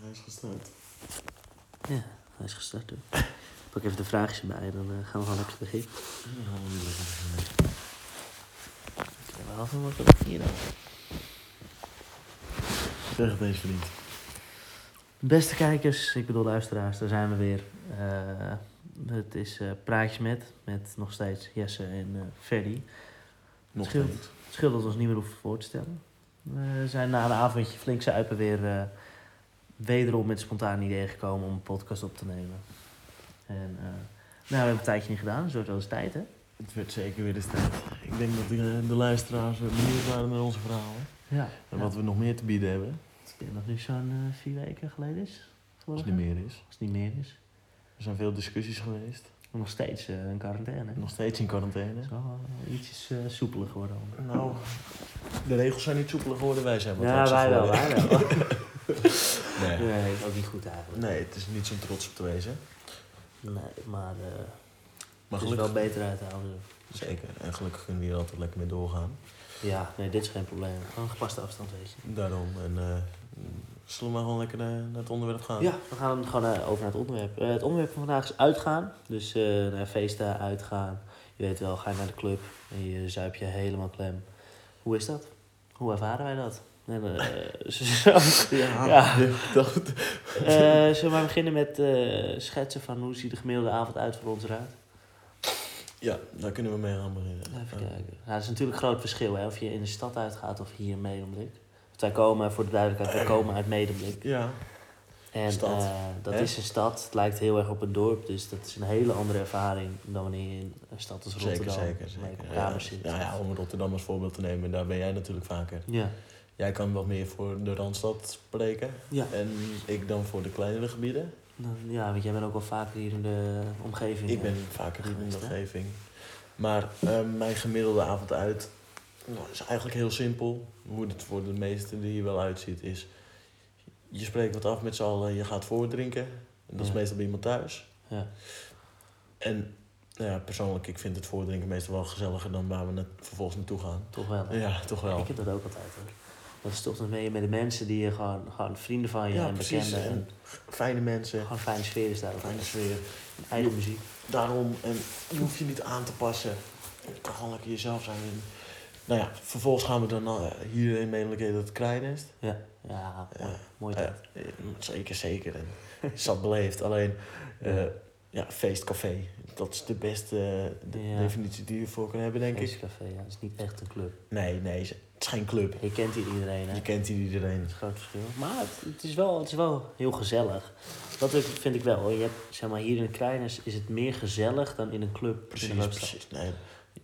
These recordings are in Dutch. Hij is gestart. Ja, hij is gestart hoor. Pak even de vraagjes erbij, dan eh, gaan we gewoon lekker beginnen. Oké, maar af en wat heb ik hier dan? Zeg het eens vriend. Beste kijkers, ik bedoel luisteraars, daar zijn we weer. Eh, het is eh, Praatjes met, met nog steeds Jesse en eh Ferdy. Nog Scheelt. steeds. Het scheelt dat we ons niet meer hoeven voor te stellen. We zijn na een avondje flink zuipen weer eh, wederom met spontaan ideeën gekomen om een podcast op te nemen. En eh, nou, we hebben een tijdje niet gedaan, zo wel eens tijd hè. Het werd zeker weer eens tijd. Ik denk dat de, de luisteraars eh, benieuwd waren naar onze verhalen. Ja. En wat we nog meer te bieden hebben. Ik denk dat het nu zo'n eh, vier weken geleden is. Als geloof het niet ik. meer is. Als het niet meer is. Er zijn veel discussies geweest. Nog steeds eh, een quarantaine. hè? Nog steeds in Het quarantaine. is wel eh, ietsjes eh, soepeler geworden. allemaal. Nou, de regels zijn niet soepeler geworden. Wij zijn wat ja, trotser wij wel, geworden. wij wel. Nee. nee, ook niet goed eigenlijk. Nee, het is niet zo'n trots op te wezen. Nee, maar, eh Maar het is wel gelukkig. beter uit te houden. Zeker. En gelukkig kunnen we hier altijd lekker mee doorgaan. Ja, nee, dit is geen probleem. Gewoon gepaste afstand, weet je. Daarom. En eh, zullen we maar gewoon lekker eh, naar het onderwerp gaan? Ja, we gaan hem gewoon eh, over naar het onderwerp. Eh, het onderwerp van vandaag is uitgaan. Dus eh, naar feesten, uitgaan. Je weet wel, ga je naar de club en je zuip je helemaal klem. Hoe is dat? Hoe ervaren wij dat? En, eh, zo- Ja, Ja. dat. Eh, zullen we maar beginnen met eh, schetsen van hoe ziet de gemiddelde avond uit voor ons eruit? Ja, daar kunnen we mee gaan beginnen. Even Eh, kijken. Nou, dat is natuurlijk een groot verschil hè, of je in de stad uitgaat of hier in Medemblik. Want wij komen, voor de duidelijkheid, wij komen uit Medemblik. Ja, En Stad, eh, dat hè? is een stad, het lijkt heel erg op een dorp, dus dat is een hele andere ervaring dan wanneer je in een stad als zeker, Rotterdam zeker. waar je zeker. op Ja, kamers zit. ja, ja, om Rotterdam als voorbeeld te nemen, daar ben jij natuurlijk vaker. ja. Jij kan wat meer voor de Randstad spreken. Ja. En ik dan voor de kleinere gebieden. Dan- ja, want jij bent ook wel vaker hier in de omgeving. Ik hè? ben vaker hier in de Geweest, hè? omgeving. Maar eh, mijn gemiddelde avond uit nou, is eigenlijk heel simpel. Hoe het voor de meesten die hier wel uitziet is... Je spreekt wat af met z'n allen, je gaat voordrinken. En dat is Ja. meestal bij iemand thuis. Ja. En nou ja, persoonlijk, ik vind het voordrinken meestal wel gezelliger dan waar we na- vervolgens naartoe gaan. Toch wel. Ja, toch wel. Ik heb dat ook altijd hoor. Dat is toch dan mee met de mensen die je gewoon, gewoon vrienden van je Ja, en precies. bekenden. En En fijne mensen, gewoon fijne sfeer is daar ook. fijne sfeer. Eigen muziek. Daarom, en je hoeft je niet aan te passen. Je kan gewoon lekker jezelf zijn. En, nou ja, vervolgens gaan we dan eh, hier in Medelijkheid dat krijnest. Ja, mooi, Ja. mooi Eh, tijd. eh, zeker, zeker. En zat beleefd. Alleen, eh, ja, feestcafé. Dat is de beste eh, de- Ja. definitie die je voor kan hebben, denk ik. Feestcafé, ja. Het is niet echt een club. Nee, nee, het is geen club. Je kent hier iedereen, hè? Je kent hier iedereen. Het is een groot verschil. Maar het, het is, wel, het is wel heel gezellig. Dat is- vind ik wel. hoor. Je hebt, zeg maar, hier in de Kreiners is het meer gezellig dan in een club. in de Precies, hoofdstad. precies. Nee,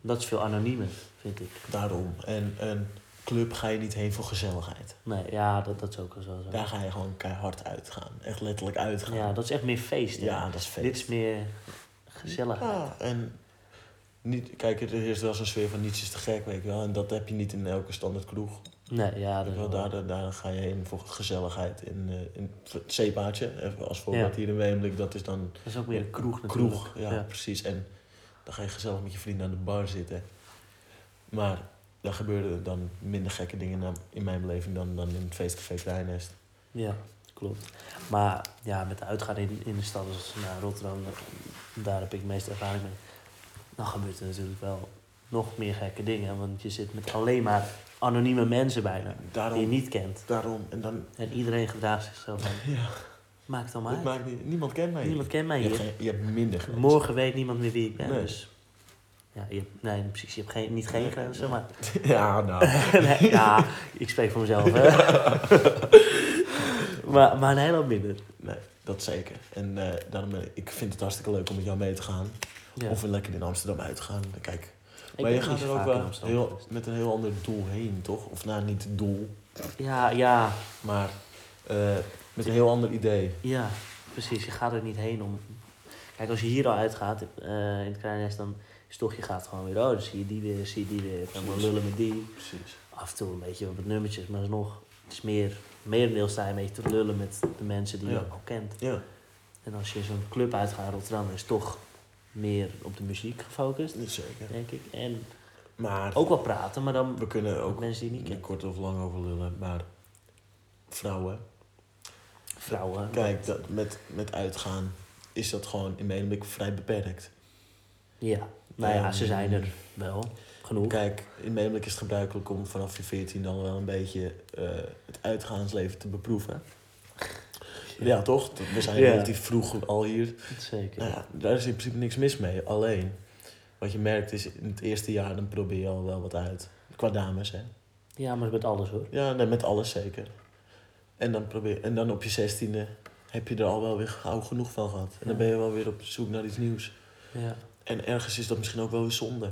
Dat is veel anoniemer, vind ik. daarom. En een club ga je niet heen voor gezelligheid. Nee, ja, dat, dat is ook wel zo. Daar ga je gewoon keihard uitgaan. Echt letterlijk uitgaan. Ja, dat is echt meer feest. hè? Ja, dat is feest. Dit is meer gezelligheid. Ja, en niet, kijk, er is wel zo'n sfeer van niets is te gek, weet je wel. En dat heb je niet in elke standaard kroeg. Nee, ja, dat Weet is je wel, daar, wel- daar, daar ga je heen voor gezelligheid. In, eh, in het zeepaadje, even als voorbeeld hier in Weemlik, dat is dan dat is ook meer een kroeg natuurlijk. kroeg. Ja, precies. En dan ga je gezellig met je vrienden aan de bar zitten. Maar daar gebeurden dan minder gekke dingen na- in mijn beleving dan, dan in het feestcafé Kleinest. Ja, klopt. Maar ja, met de uitgaan in, in de stad, dus naar Rotterdam, daar heb ik de meeste ervaring mee. Dan gebeurt er natuurlijk wel nog meer gekke dingen, want je zit met alleen maar anonieme mensen bijna, die je Daarom, niet kent. daarom, en dan, En iedereen gedraagt zichzelf aan. ja, Maakt dan het maar uit. maakt niet, niemand kent mij. Niemand kent mij je, hebt hier. geen- je hebt minder grenzen. Morgen weet niemand meer wie ik ben, Nee. dus... Ja, je hebt, nee, precies. Je hebt geen, niet geen grenzen, maar... Ja, nou. nee, ja, ik spreek voor mezelf, hè. maar, maar een hele hoop minder. Nee, dat zeker. En eh, daarom, ben ik- ik vind het hartstikke leuk om met jou mee te gaan. Ja. Of we lekker in Amsterdam uit te gaan. Kijk, Ik maar ben je niet gaat zo er ook vaak in wel Amsterdam heel, geweest. met een heel ander doel heen, toch? Of nou, niet het doel, Ja, ja, maar eh, met een heel ander idee. Ja, precies. Je gaat er niet heen om. Kijk, als je hier al uitgaat eh, in het kleine nest, dan is toch, je gaat gewoon weer, oh, dan zie je die weer, zie je die weer. Dan we Precies. lullen met die. Precies. Af en toe een beetje op het nummertjes, maar nog, het is meer, merendeels sta je een beetje te lullen met de mensen die je Ja. ook al kent. Ja, En als je zo'n club uitgaat in Rotterdam, is het toch meer op de muziek gefocust, niet zeker. denk ik. En Maar ook wel praten, maar dan we kunnen ook ook mensen die je niet niet kent. kort of lang over lullen, maar vrouwen. vrouwen. Kijk, dat, met, met uitgaan is dat gewoon in mijn blik vrij beperkt. Ja, nou ja, Ehm, ze zijn er wel. Genoeg. Kijk, in mijn blik is het gebruikelijk om vanaf je 14 dan wel een beetje eh, het uitgaansleven te beproeven. Ja, toch? Dat- We zijn Ja. relatief vroeg al hier. Zeker. Nou ja, daar is in principe niks mis mee. Alleen, wat je merkt is in het eerste jaar dan probeer je al wel wat uit. Qua dames, hè? Ja, maar met alles hoor. Ja, nee, met alles zeker. En dan, probeer, en dan op je zestiende heb je er al wel weer gauw genoeg van gehad. En dan Ja. ben je wel weer op zoek naar iets nieuws. Ja. En ergens is dat misschien ook wel weer zonde.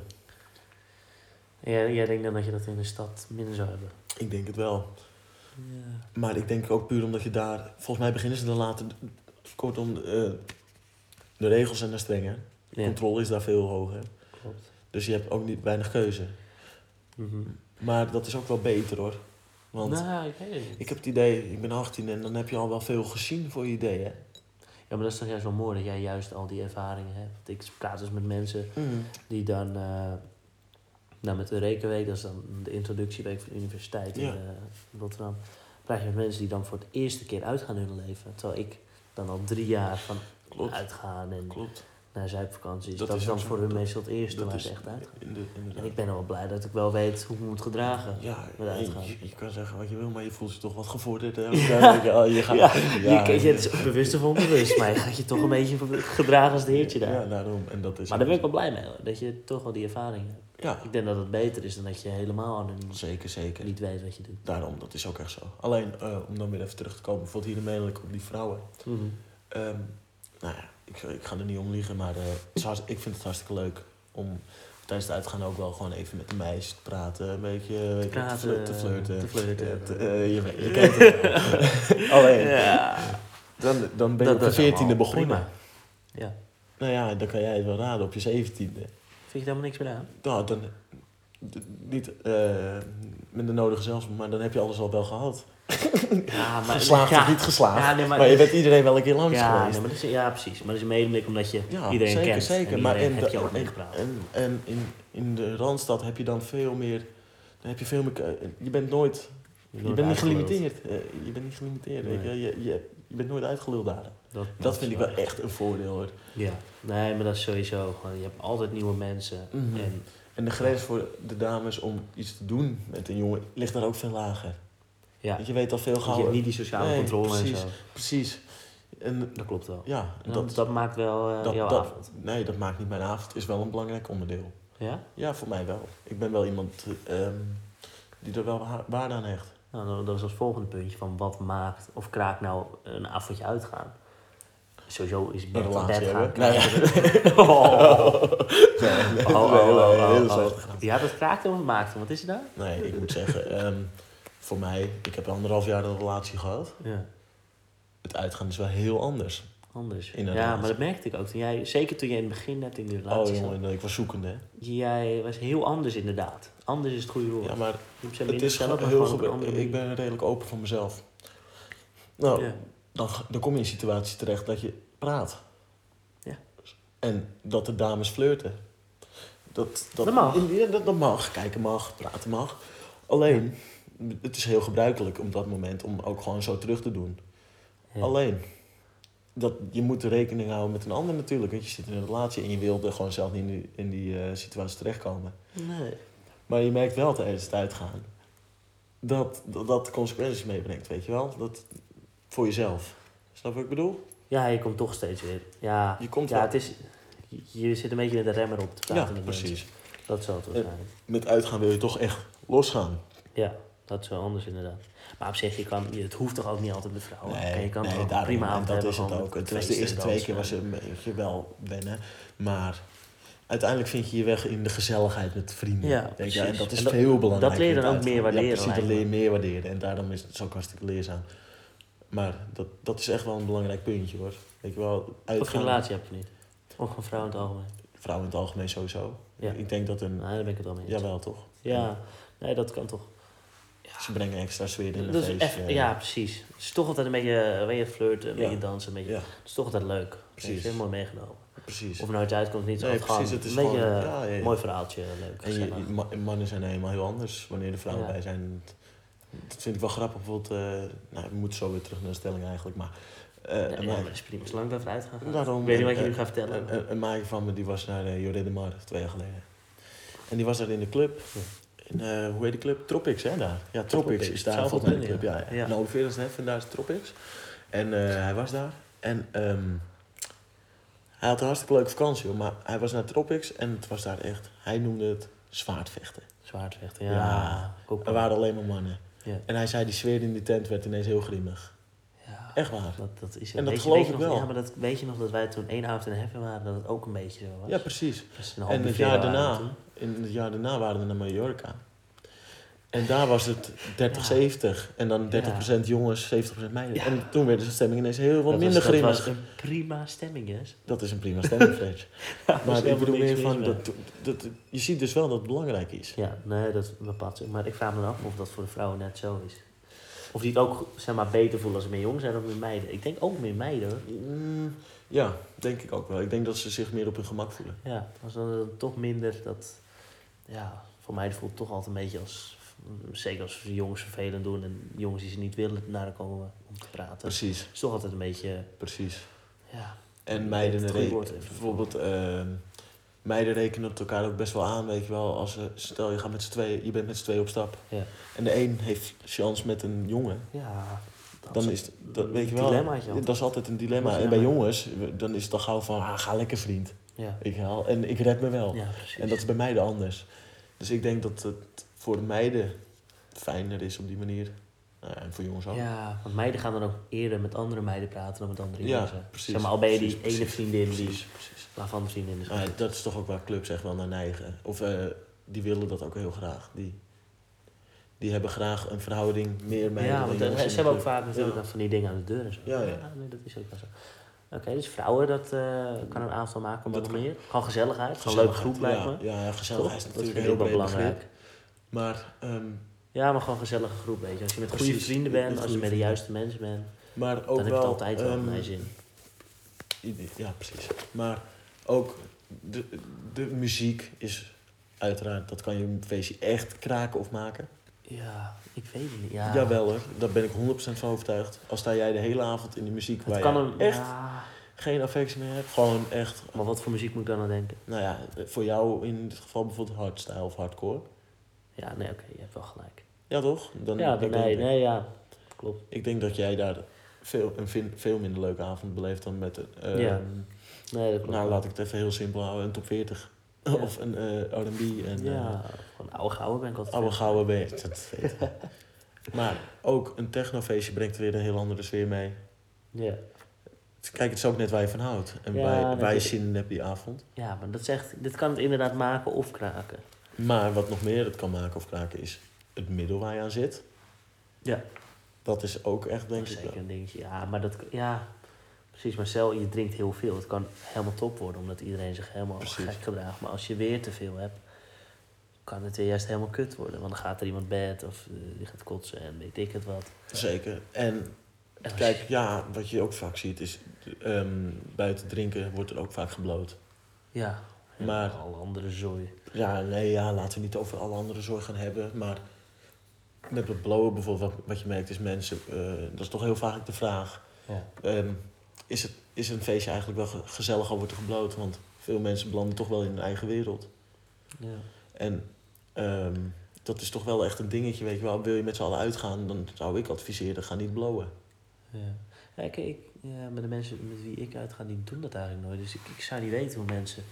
Jij, jij denkt dan dat je dat in de stad minder zou hebben. Ik denk het wel. Ja. Maar ik denk ook puur omdat je daar... Volgens mij beginnen ze dan later... Kortom, eh, de regels zijn daar strenger. De controle is daar veel hoger. klopt. Dus je hebt ook niet weinig keuze. Mhm. Maar dat is ook wel beter hoor. Want nou, ik weet het niet. ik heb het idee, ik ben 18 en dan heb je al wel veel gezien voor je idee hè. Ja, maar dat is toch juist wel mooi dat jij juist al die ervaringen hebt. Want ik praat dus met mensen die dan... eh, nou, met de Rekenweek, dat is dan de introductieweek van de universiteit Ja. in eh, Rotterdam. Praat je met mensen die dan voor het eerste keer uitgaan in hun leven. Terwijl ik dan al drie jaar van Klopt. uitgaan en Klopt. naar zuipvakanties. Dat Dat, is is dan ook zo. voor hun Dat- meestal het eerste dat waar is- ze echt uitgaan. Inde- En Inderdaad. ik ben wel blij dat ik wel weet hoe ik me moet gedragen. Ja, Met uitgaan. je, je kan zeggen wat je wil, maar je voelt je toch wat gevorderd. hè. Ja. Oh, je gaat, Ja, ja, je, kent- je, het is bewust of onbewust, maar je gaat je toch een beetje gedragen als de heertje daar. Ja, daarom. En dat is maar daar ben ik wel blij mee, hoor, dat je toch wel die ervaring hebt. Ja, Ik denk dat het beter is dan dat je helemaal anoniem zeker, zeker. niet weet wat je doet. Daarom, dat is ook echt zo. Alleen, eh, om dan weer even terug te komen, bijvoorbeeld hier in Medelijk op die vrouwen. Ehm, nou ja, ik, ik ga er niet om liegen, maar eh, het is hartst- ik vind het hartstikke leuk om tijdens het uitgaan ook wel gewoon even met de meisjes te praten. Een beetje eh, weet je, te, Praten, flir- te flirten. te flirten. Eh, te- eh, je, weet- je kent het wel. Alleen, Ja, dan, dan ben je op je is allemaal veertiende begonnen. prima. Ja. Nou ja, dan kan jij het wel raden op je zeventiende. Vind je daar helemaal niks meer aan? Nou, dan... d- Niet eh, met de nodige zelfs, maar dan heb je alles al wel gehad. Ja, maar, Geslaagd ja. of niet geslaagd. Ja, nee, maar, maar- dus- je bent iedereen wel een keer langs Ja, geweest. nee, maar dat is, ja, precies. Maar dat is mede omdat- omdat je Ja, iedereen zeker, kent. zeker. En maar iedereen en, heb de- je ook mee en, gepraat. en, en in, in de Randstad heb je dan veel meer... Dan heb je veel meer... keu- Je bent nooit... Je, wordt bent niet uitgeluld. gelimiteerd. Eh, je bent niet gelimiteerd. weet Je, Nee. je, je, je bent nooit uitgeluld daar. Dat is vind ik wel echt een voordeel hoor. Ja, nee, maar dat is sowieso gewoon. Je hebt altijd nieuwe mensen. Mhm. En En de grens voor de dames om iets te doen met een jongen ligt daar ook veel lager. ja, Want je weet al veel want je gauw. hebt niet die sociale Nee, controle precies. en zo. Precies. En Dat klopt wel. ja, en En dat, dat, dat maakt wel eh dat, jouw dat- avond. Nee, dat maakt niet mijn avond. Is wel een belangrijk onderdeel. Ja? Ja, voor mij wel. Ik ben wel iemand ehm, die er wel ha- waarde aan hecht. Nou, dan- dat is ons volgende puntje van wat maakt of kraakt nou een avondje uitgaan. Sowieso is Een bed van relatie bed gaan. hebben. Nou kraakt- oh, Nee, nee, oh, oh, nee, oh, nee, heel oh, oh. zacht. Ja, dat kraakt hem of maakt hem? Wat is het nou? Nee, ik moet zeggen, ehm, voor mij, ik heb anderhalf jaar een relatie gehad. Ja, Het uitgaan is wel heel anders. anders. In een Ja, relatie. maar dat merkte ik ook. Toen jij, zeker toen jij in het begin net in die relatie oh zat. jongen, ik was zoekende. hè. Jij was heel anders inderdaad. Anders is het goede woord. Ja, maar Niet per se het minder is zelf, maar gewoon heel gewoon op een gebe- andere Ik manier. ben redelijk open van mezelf. Nou, Ja. dan, ga- dan kom je in een situatie terecht dat je praat. Ja. En dat de dames flirten. Dat, dat, Dat mag. Ja, dat, dat mag. Kijken mag, praten mag. Alleen, het is heel gebruikelijk op dat moment om ook gewoon zo terug te doen. Ja. Alleen, dat, je moet rekening houden met een ander natuurlijk. Want je zit in een relatie en je wilde gewoon zelf niet in die, in die eh, situatie terechtkomen. Nee. Maar je merkt wel tijdens het uitgaan dat dat, dat consequenties meebrengt, weet je wel? Dat, voor jezelf. Snap je wat ik bedoel? Ja, je komt toch steeds weer. Ja, Je komt ja wel. het is, je zit een beetje met de remmer op te praten. Ja, met mensen. precies. Dat zal het waarschijnlijk. Met uitgaan wil je toch echt losgaan. Ja, dat is wel anders inderdaad. Maar op zich, je kan, je- het hoeft toch ook niet altijd met vrouwen? En Oh, je kan toch ook daarom, prima en avond dat hebben. is het gewoon ook. met Het was de feesten, eerste twee dansen. keer was het een beetje wel wennen. Maar uiteindelijk vind je je weg in de gezelligheid met vrienden. Ja, weet je? precies. En dat is En dat- veel belangrijker. dat leer je dan in het ook meer uitgaan. Ja, waarderen, precies, dat lijkt leer je me. meer waarderen. En daarom is het ook hartstikke leerzaam. Maar dat, dat is echt wel een belangrijk puntje hoor. Weet je wel, Of een uitgaan... relatie heb je niet. Of een vrouw in het algemeen. vrouwen in het algemeen sowieso. Ja. Ik denk dat een... Nou, daar ben ik het wel mee eens. Jawel, toch? Ja, nee, dat kan toch. Ze brengen extra sfeer in een Dat is feestje. eff- ja, precies. Het is toch altijd een beetje, eh, een beetje flirten, een Ja. beetje dansen. Een beetje, Ja, Het is toch altijd leuk. Precies. Precies. Heel mooi meegenomen. precies. Of nou het uitkomt of niet, Nee, nee, gewoon precies, het is een beetje gewoon- ja, ja, ja. mooi verhaaltje, leuk, En nou je, gezellig. je- ma- mannen zijn helemaal heel anders wanneer de vrouwen Ja. bij zijn. Dat vind ik wel grappig. Bijvoorbeeld, eh, nou, we moeten zo weer terug naar de stelling eigenlijk. Maar, eh, een Ja, ja, maatje- maar dat is prima. Zolang ik daarvan uitga. ga ik. Daarom- ik weet niet wat je eh, nu gaat vertellen. Een, een, een maatje van me die was naar uh, Joré de Mar twee jaar geleden. En die was daar in de club. In, eh, hoe heet de club? Tropics, hè, daar? Ja, Tropics is daar Zou volgens mij de goed club. kunnen, Ja, ja. ja. Nou, ongeveer is net, vandaar is Tropics. En eh, hij was daar. En ehm, hij had een hartstikke leuke vakantie, hoor. Maar hij was naar Tropics en het was daar echt... Hij noemde het zwaardvechten. Zwaardvechten, ja. Ja. Ook Er waren alleen maar mannen. Ja. En hij zei, die sfeer in die tent werd ineens heel grimmig. Ja. Echt waar. Dat, dat is En dat weet je- geloof weet je ik nog- wel. Ja, maar dat, weet je nog dat wij toen één avond in Heffen waren, dat het ook een beetje zo was? Ja, precies. Dus een half En het beveel jaar waren we daarna, toen. in het jaar daarna waren we naar Mallorca. En daar was het 30-70. En dan 30% jongens, 70% meiden. Ja. En toen werd de stemming ineens heel wat Dat minder was, dat was grimmig. een prima stemming, yes. Dat is een prima stemming, Fred. maar ik bedoel meer weer van, dat, dat, je ziet dus wel dat het belangrijk is. Ja, nee, dat bepaalt zich. Maar ik vraag me dan af of dat voor de vrouwen net zo is. Of die het ook zeg maar, beter voelen als ze meer jong zijn of meer meiden. Ik denk ook meer meiden. hoor. Mm, ja, denk ik ook wel. Ik denk dat ze zich meer op hun gemak voelen. Ja, als dan eh, toch minder dat... Ja, voor mij voelt het toch altijd een beetje als... Zeker als ze jongens vervelend doen en jongens die ze niet willen naar elkaar komen om te praten. Het Precies, is toch altijd een beetje... precies. Ja, En Het meiden, goede reken- woord even. bijvoorbeeld, ehm, meiden rekenen het elkaar ook best wel aan, weet je wel. Als, ze- stel, je, gaat met z'n tweeën, je bent met z'n tweeën op stap. Ja. En de een heeft chance met een jongen. ja dat Dan is het- dat, weet je wel, dilemmaatje altijd. dat is altijd een dilemma. Dat is En bij jammer. jongens, we- dan is het dan gauw van, ah, ga lekker vriend. Ja, Ik haal, en ik red me wel. ja precies. en dat is bij meiden anders. Dus ik denk dat het voor de meiden fijner is op die manier. Nou ja, en voor jongens ook. Ja, want meiden gaan dan ook eerder met andere meiden praten dan met andere Ja, jongens. hè. precies, Zeg maar, al ben je die precies, ene precies, vriendin die, Precies, precies. waarvan de vriendin is. Maar ja, Dus, eh, dat is toch ook waar clubs echt wel naar neigen. Of eh, die willen dat ook heel graag. Die, die hebben graag een verhouding meer meiden ja, dan want eh, jongens in ze de hebben ook club. vaak natuurlijk Ja. dan van die dingen aan de deur en zo. Ja, ja. nee, dat is ook wel zo. Oké, dus vrouwen, dat eh, kan een aantal maken, maar Dat nog meer. Gewoon gezelligheid, gewoon een leuke Gezelligheid, groep lijkt me. ja, Ja, ja, gezelligheid is Toch? natuurlijk dat een vind heel ik wel breed belangrijk. begrip. Maar, ehm, Ja, maar gewoon een gezellige groep, weet je. Als je met goede Precies, vrienden met bent, als je goede met de vrienden. juiste mensen bent, maar ook dan heb je wel... het altijd wel ehm, naar je zin. idee- Ja, precies. Maar ook de, de muziek is uiteraard... Dat kan je een feestje echt kraken of maken. Ja, ik weet het niet. Ja, Jawel hoor, daar ben ik 100% van overtuigd. Als sta jij de hele avond in die muziek Het waar kan je een, echt ja. geen affectie meer hebt. Gewoon echt Maar wat voor muziek moet ik dan aan denken? Nou ja, voor jou in dit geval bijvoorbeeld hardstyle of hardcore. Ja, nee, oké, je hebt wel gelijk. Ja, toch? Dan, ja, ik, nee, denk, nee, ja. Klopt. ik denk dat jij daar veel, een vin- veel minder leuke avond beleeft dan met een... eh, Ja, Nee, dat klopt. Nou, laat ik het even heel simpel houden. Een top 40. Ja. of een eh, R&B. En, eh, ja, gewoon oude gouden ben ik altijd. oude fan. gouden weet. Dat weet ik. maar ook een technofeestje brengt weer een heel andere sfeer mee. Ja. Kijk, het is ook net waar je van houdt. En Ja, waar, waar je natuurlijk. zin in hebt die avond. ja, maar dat zegt, dit kan het inderdaad maken of kraken. Maar wat nog meer het kan maken of kraken is het middel waar je aan zit. Ja. Dat is ook echt, Dat denk is ik, zeker wel. een dingetje. Ja, maar dat, ja, precies. Maar stel, je drinkt heel veel. Het kan helemaal top worden, omdat iedereen zich helemaal Precies. gek gedraagt. Maar als je weer te veel hebt, kan het weer juist helemaal kut worden. Want dan gaat er iemand bed of eh, die gaat kotsen en weet ik het wat. Zeker. En En als Kijk, ja, wat je ook vaak ziet is, ehm, buiten drinken wordt er ook vaak gebloot. je- Ja. En Maar- Al andere zooi. Ja, nee, ja, laten we niet over alle andere zorg gaan hebben, maar met het blowen bijvoorbeeld, wat, wat je merkt is mensen, eh, dat is toch heel vaak de vraag, Ja. ehm, is, het, is een feestje eigenlijk wel ge- gezellig al wordt er gebloot? Want veel mensen belanden toch wel in hun eigen wereld. ja. En ehm, dat is toch wel echt een dingetje, weet je wel. Wil je met z'n allen uitgaan, dan zou ik adviseren, ga niet blowen. Ja. Ja, ik, ik, ja, maar de mensen met wie ik uitga, die doen dat eigenlijk nooit. Dus ik, ik zou niet weten hoe mensen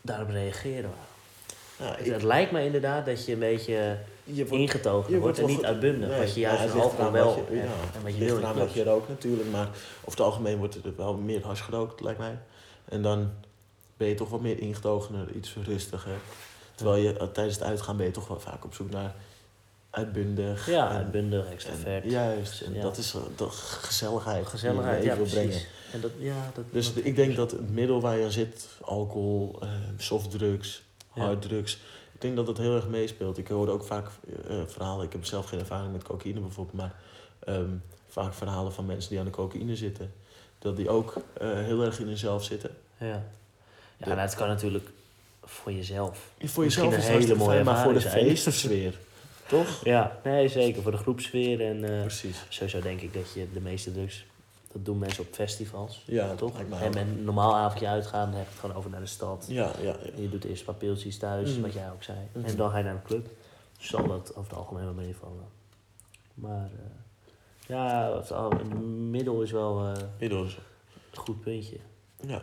daarop reageren. Maar Nou, het, ik- het lijkt me inderdaad dat je een beetje je wordt- ingetogen Je wordt en wel niet ge- uitbundig. Nee, wat je ja, juist het ja, ligt alcohol eraan wat wel je- hebt ja, en het wat je ligt wil. in eraan clubs. wat je rookt natuurlijk, maar over het algemeen wordt er wel meer hars gerookt, lijkt mij. En dan ben je toch wat meer ingetogener, iets rustiger. Terwijl je eh, tijdens het uitgaan ben je toch wel vaak op zoek naar uitbundig. Ja, en- uitbundig, en- extravert. Juist, en Ja. dat is eh, de gezelligheid. gezelligheid, die je ja even wil brengen. precies. En dat, ja, dat, Dus dat- ik denk dat het middel waar je aan zit, alcohol, eh, softdrugs, Ja. harddrugs, ik denk dat dat heel erg meespeelt. Ik hoor ook vaak eh, verhalen, ik heb zelf geen ervaring met cocaïne bijvoorbeeld, maar ehm, vaak verhalen van mensen die aan de cocaïne zitten. Dat die ook eh, heel erg in hunzelf zitten. Ja, ja De- nou, het kan natuurlijk voor jezelf. Voor Misschien jezelf een is het hele hartstikke mooie fijn, maar voor de ervaring zijn. feestsfeer. Toch? Ja, nee, zeker. Voor de groepsfeer. En eh, Precies. sowieso denk ik dat je de meeste drugs... Dat doen mensen op festivals. Ja, toch? lijkt mij En ook. met een normaal avondje uitgaan, dan heb je het gewoon over naar de stad. Ja, ja, ja. En je doet eerst een paar pilsjes thuis, Mhm. wat jij ook zei. Mhm. En dan ga je naar de club. Dus zal dat over het algemeen wel meevallen. Maar eh, ja, het al- het middel is wel eh, Middels. een goed puntje. Ja.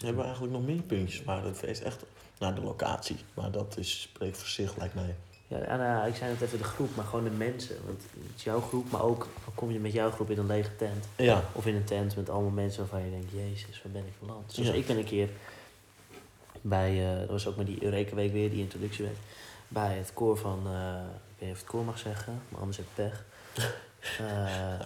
We hebben eigenlijk nog meer puntjes, maar dat is echt naar de locatie. Maar dat is, spreekt voor zich, lijkt mij. Ja, en, eh, ik zei net even de groep, maar gewoon de mensen. Want het is jouw groep, maar ook al kom je met jouw groep in een lege tent. Ja. Of in een tent met allemaal mensen waarvan je denkt, jezus, waar ben ik beland. Zoals Ja. ik ben een keer bij, eh, dat was ook met die Eureka Week weer, die introductieweek. Bij het koor van, eh, ik weet niet of ik het koor mag zeggen, maar anders heb ik pech. Eh,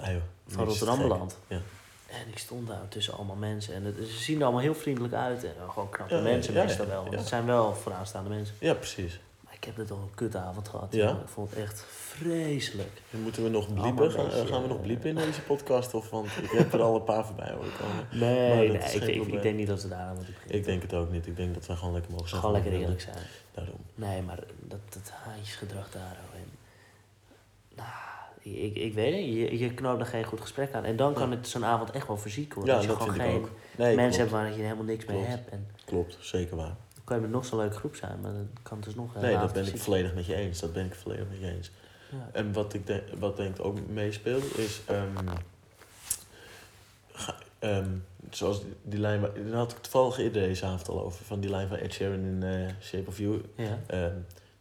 Ah, joh. van Niks te Rotterdam gek. beland. Ja. En ik stond daar tussen allemaal mensen. En het, ze zien er allemaal heel vriendelijk uit. En gewoon knappe Ja, mensen ja, meestal ja, wel. Want ja. het zijn wel vooraanstaande mensen. Ja, precies. Maar ik heb net al een kutavond gehad. Ja? jongen. Ik vond het echt vreselijk. En moeten we nog Allemaal bliepen? een Gaan, beetje, gaan we nog eh, bliepen in deze podcast? Of, want ik heb er al een paar voorbij horen komen. Nee, Maar dat nee is ik, geen ik, ik probleem. denk niet dat ze daar aan moeten beginnen. Ik denk het ook niet. Ik denk dat we gewoon lekker mogen zeggen. Gewoon wat lekker we eerlijk willen. zijn. Daarom. Nee, maar dat, dat haantjesgedrag daar. hoor. En, nou, ik, ik weet het, je, je knoopt er geen goed gesprek aan. En dan kan het zo'n avond echt wel fysiek worden. Ja, als je dat gewoon vind ik geen ook. Nee, mensen klopt. hebt waar je helemaal niks mee Klopt. hebt. En Klopt, zeker waar. dan kan je met nog zo'n leuke groep zijn, maar dan kan het dus nog een Nee, dat avond ben ik fysiek- volledig met je eens. Dat ben ik volledig met je eens. Ja. En wat ik, denk, wat denk ik ook meespeelt is... ehm, ga- ehm, zoals die, die lijn... waar- Daar had ik toevallig eerder deze avond al over. Van die lijn van Ed Sheeran in eh, Shape of You. Ja. Ehm,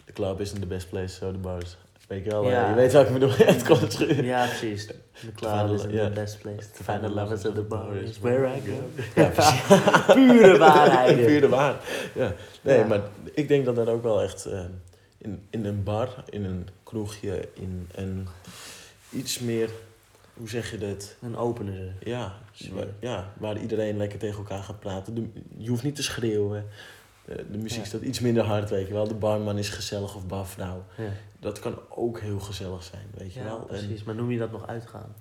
the club isn't the best place, so the bars. Weet je wel? Ja. eh, je weet wat ik bedoel. het komt terug. ja, precies. The cloud find is the- the ja. best place to find the lovers at the bar is is where I go. Ja, precies. Pure waarheid. Pure waarheid. Ja. Nee, Ja. maar ik denk dat dat ook wel echt eh, in, in een bar, in een kroegje, in een iets meer, hoe zeg je dat? Een opener. Ja, z- waar, ja, waar iedereen lekker tegen elkaar gaat praten. De- je hoeft niet te schreeuwen. Eh, De muziek Ja. staat iets minder hard, weet je wel. De barman is gezellig of barvrouw. Ja, Dat kan ook heel gezellig zijn, weet je ja wel. En- precies. Maar noem je dat nog uitgaan?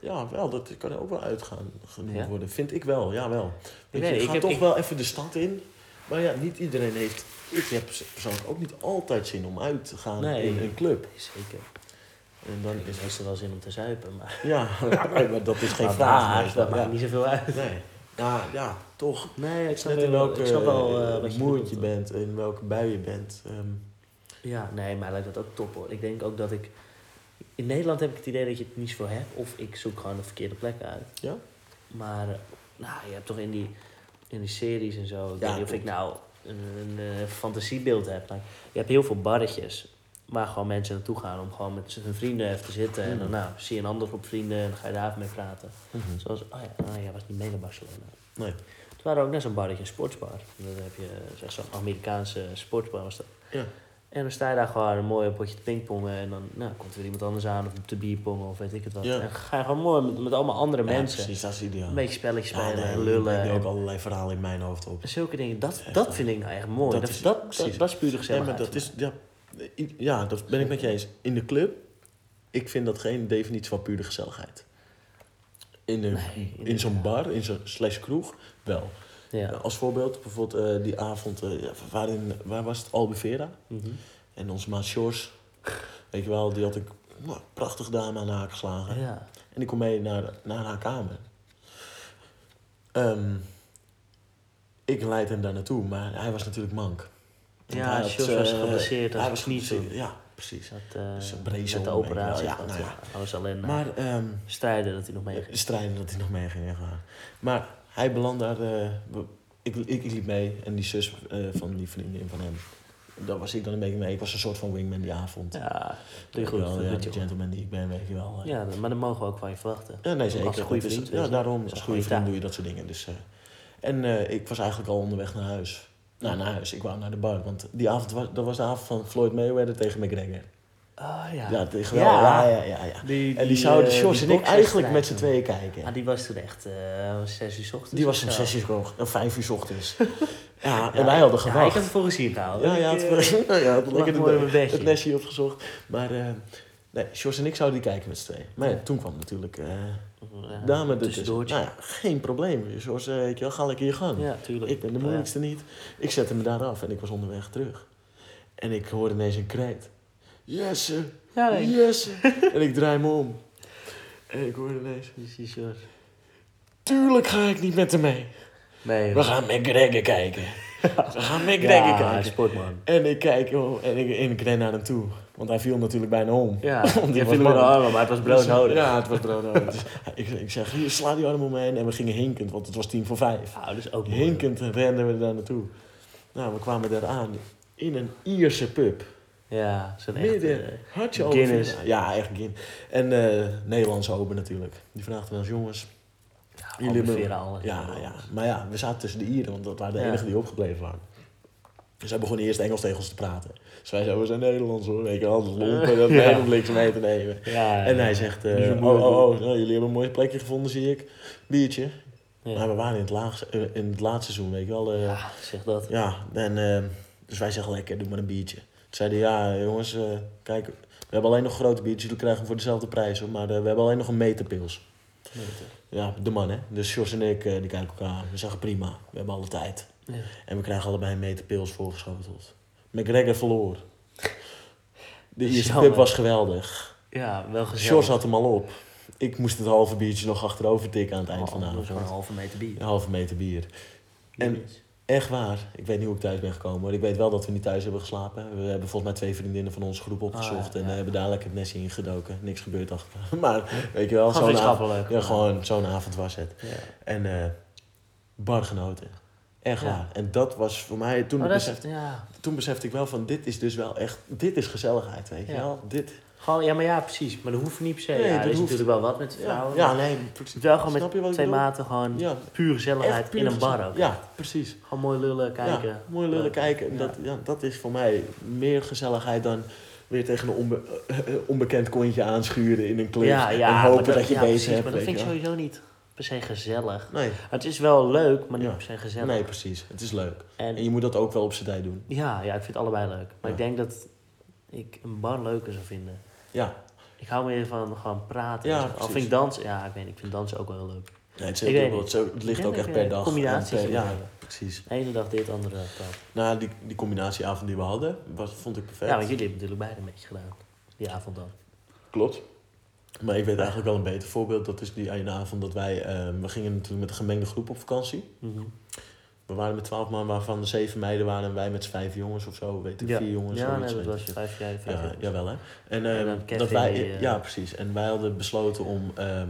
Ja, wel, dat kan ook wel uitgaan genoemd Ja? worden. Vind ik wel, ja wel. Weet weet je, niet, ik ik ga heb- toch ik- wel even de stad in. Maar ja, niet iedereen heeft... Ik heb pers- persoonlijk ook niet altijd zin om uit te gaan Nee. in een club. Nee, zeker. En dan Ik is... is meestal wel zin om te zuipen, maar... Ja, maar dat is geen Maar vraag. waar, meestal. Nou, dat maakt ja. niet zoveel uit. Nee. Ja, ja, toch. Nee, ik snap Net in wel, welke ik snap wel eh, eh, wat je mood bedoelt. je bent, in welke bui je bent. Ehm, Ja, nee, maar lijkt dat ook top hoor. Ik denk ook dat ik... In Nederland heb ik het idee dat je het niet voor hebt. Of ik zoek gewoon de verkeerde plek uit. Ja? Maar eh, nou, je hebt toch in die, in die series en zo... Ik Ja, weet niet of klopt. ik nou een, een, eh, fantasiebeeld heb. Maar je hebt heel veel barretjes waar gewoon mensen naartoe gaan... om gewoon met z'n- hun vrienden even te zitten. En dan Mhm. nou, zie je een andere groep vrienden en dan ga je daar even mee praten. Hmm. Zoals, oh ja, oh, jij was niet mee naar Barcelona. Nee. Het waren ook net zo'n barretje, een sportsbar. Dan heb je zeg, zo'n Amerikaanse sportsbar was dat. Ja. En dan sta je daar gewoon mooi een potje te pingpongen. En dan nou, komt er weer iemand anders aan of te bierpongen of weet ik het wat. Ja. En dan ga je gewoon mooi met, met allemaal andere Ja, mensen. precies, dat is ideaal. Een beetje spelletjes Ja, spelen nee, en Ik lullen. denk ook En, allerlei verhalen in mijn hoofd op. zulke dingen, dat, Echt, dat vind ik nou echt mooi. dat Dat, dat, is- dat, precies. dat is puur Ja, maar gezelligheid. dat is, ja, i- ja, dat ben ik met je eens. In de club, ik vind dat geen definitie van pure gezelligheid. In, een- Nee, in zo'n bar, in zo'n slash kroeg, wel. Eh, Ja. Als voorbeeld, bijvoorbeeld eh, die avond, eh, ja, waarin, waar was het? Albufera. Mhm. En onze maat Sjors, weet je wel, die had een nou, prachtig dame aan de haak geslagen. ja. En ik kom mee naar, naar haar kamer. Ehm, ik leid hem daar naartoe, maar hij was natuurlijk mank. Want Ja, hij had, Sjors was eh, geblesseerd hij aan zijn was knie geblesseerd, toen. Ja, precies. Dat, eh, Dus een brezel, met de weet je wel. operatie. Ja, dat, nou ja. eh, Hij was alleen maar Maar ehm, strijden dat hij nog mee de strijden dat hij nog mee ging, echt waar. Maar hij belandde daar... eh, we- ik, ik, ik liep mee en die zus eh, van die vriendin van hem... Daar was ik dan een beetje mee. Ik was een soort van wingman die avond. Ja, doe Weet je je goed. wel, dat ja, doet je de goed. gentleman die ik ben, weet je wel. eh. Ja, maar dat mogen we ook van je verwachten. Ja, nee, Als zeker. een goede Dat is- vriend, weet ja, je. daarom. is Als een goede goede vriend taak. doe je dat soort dingen. Dus, eh, en eh, ik was eigenlijk al onderweg naar huis. Nou, naar huis. Ik wou naar de bar. Want die avond was, dat was de avond van Floyd Mayweather tegen McGregor. Oh ja. Ja, tegen wel. Ja, ja, ja. ja. En die zouden eh, Sjors die en ik bokswedstrijd eigenlijk met z'n doen. tweeën kijken. Ah, die was toen echt eh, om zes uur 's ochtends. die of was om zo. zes uur, ochtends- of vijf uur 's ochtends. ja, Ja, en wij hadden ja, gewacht. ik had het voor gezien gehouden. Ja, ja, Ik, het, eh, ja, ja, het, lag lekker mooi op de, mijn bedje. het nestje opgezocht. Maar eh nee, Sjors en ik zouden die kijken met z'n tweeën. Maar ja, Ja. toen kwam natuurlijk eh eh, dame ertussen. Nou tussendoortje. ja, geen probleem. Sjors, eh, weet je wel, ga lekker je gang. Ja, tuurlijk. Nou Ik ben de Ja. moeilijkste niet. Ik zette me daar af en ik was onderweg terug. En ik hoorde ineens een kreet. Jesse, Ja, nee. Jesse. en ik draai me om. En ik hoor ineens, Precies, hoor. tuurlijk ga ik niet met hem mee. Nee, We hoor. gaan McGregor kijken. We gaan McGregor ja, kijken. sportman. En ik kijk joh, en ik, en ik ren naar hem toe. Want hij viel natuurlijk bijna om. Ja, Want die je was viel met de lang. armen, maar het was broodnodig. Ja, het was broodnodig. dus ik, ik zeg, hier, sla die arm omheen. En we gingen hinkend, want het was tien voor vijf. Nou, dat is ook mooi. Hinkend renden we daar naartoe. Nou, we kwamen daar aan in een Ierse pub. Ja, zo'n Midden. echte... Had je al een eh, Guinness. vriend? Ja, echt Guinness. En eh Nederlandse open natuurlijk. Die vraagden wel, jongens. Ja, jullie hebben- ongeveer alle. Ja, ja, maar ja, we zaten tussen de Ieren, want dat waren de Ja. enigen die opgebleven waren. Dus zij begonnen eerst Engels tegen ons te praten. Dus wij zeiden, we zijn Nederlands hoor. Weet je, anders lompen, dat Ja. ja. helemaal niks mee te nemen. Ja, En hij zegt, eh, Niet zo oh, moeilijk, oh, hoor. oh, nou, jullie hebben een mooi plekje gevonden, zie ik. Biertje. Ja. Maar we waren in het, laag, eh, in het laatste seizoen, weet je wel. eh, Ja, zeg dat. ja, en, eh, dus wij zeggen lekker, doe maar een biertje. Toen zeiden ja, jongens, eh, kijk, we hebben alleen nog grote biertjes, jullie krijgen hem voor dezelfde prijs hoor, maar eh, we hebben alleen nog een meterpils. Ja, de man hè. Dus Jos en ik, eh, die kijken elkaar aan. We zeggen prima, we hebben alle tijd. Ja. En we krijgen allebei een meter pils voorgeschoteld. McGregor verloor. De eerste Jammer. pub was geweldig. Ja, wel gezellig. Sjors had hem al op. Ik moest het halve biertje nog achterover tikken aan het eind Oh, van de nog avond. Zo'n halve meter bier. Een halve meter bier. En Jezus. echt waar, ik weet niet hoe ik thuis ben gekomen. Maar ik weet wel dat we niet thuis hebben geslapen. We hebben volgens mij twee vriendinnen van onze groep opgezocht. Ah, ja, en ja. eh, hebben dadelijk het nestje ingedoken. Niks gebeurd achter. Maar weet je wel, zo'n Gewoon avond, vriendschappelijk. ja, gewoon zo'n avond was het. Ja. En eh bar genoten. Echt Ja. waar. En dat was voor mij, toen, Maar Oh, dat is besef, echt, ja. toen besefte ik wel van dit is dus wel echt, dit is gezelligheid, weet je Ja. wel. Dit, Gewoon, ja, maar ja, precies. Maar dat hoeft niet per se. Nee, ja, dat er is hoeft- natuurlijk wel wat met ja, vrouwen. ja, maar nee, het is wel gewoon met Snap je wat ik twee bedoel? maten gewoon ja. pure Echt gezelligheid puur in een gezellig. bar ook. Ja, precies. Gewoon mooi lullen, kijken. Ja, mooi lullen Leuk. kijken. En Ja. Dat, ja, dat is voor mij meer gezelligheid dan weer tegen een onbe- eh, eh, onbekend kontje aanschuren in een club. Ja, ja, en hopen maar dat, je bezig ja, precies, hebt. Maar dat weet vind ik je wel. sowieso niet per se gezellig. Nee, Het is wel leuk, maar niet Ja. per se gezellig. nee, precies. Het is leuk. En, En je moet dat ook wel op z'n tijd doen. ja, ja, ik vind het allebei leuk. Maar Ja. ik denk dat ik een bar leuker zou vinden. Ja. Ik hou meer van gewoon praten. Ja, en zo. Al precies. vind ik dansen... Ja, ik weet niet. Ik vind dansen ook wel heel leuk. Nee, het, is Ik heel weet dubbel. niet. Het is ook- het ligt Ik ook denk echt dat per je dag. combinaties En per- moet Ja, hebben. precies. De ene dag dit, de andere dag dat. Nou, die, die combinatieavond die we hadden, was, vond ik perfect. Ja, want jullie hebben natuurlijk beide een beetje gedaan. Die avond dan. Klopt. Maar ik weet eigenlijk wel een beter voorbeeld. Dat is die ene avond dat wij... eh, we gingen natuurlijk met een gemengde groep op vakantie. We waren met twaalf man, waarvan de zeven meiden waren... en wij met z'n vijf jongens of zo. Weet ik, vier jongens. Ja, zoiets, nee, dat weet was ik. vijf jaar. Vijf Ja, jaar. jawel, hè. En, En ehm, dan Kevin dat wij, die, eh, ja, precies. En wij hadden besloten om... ehm,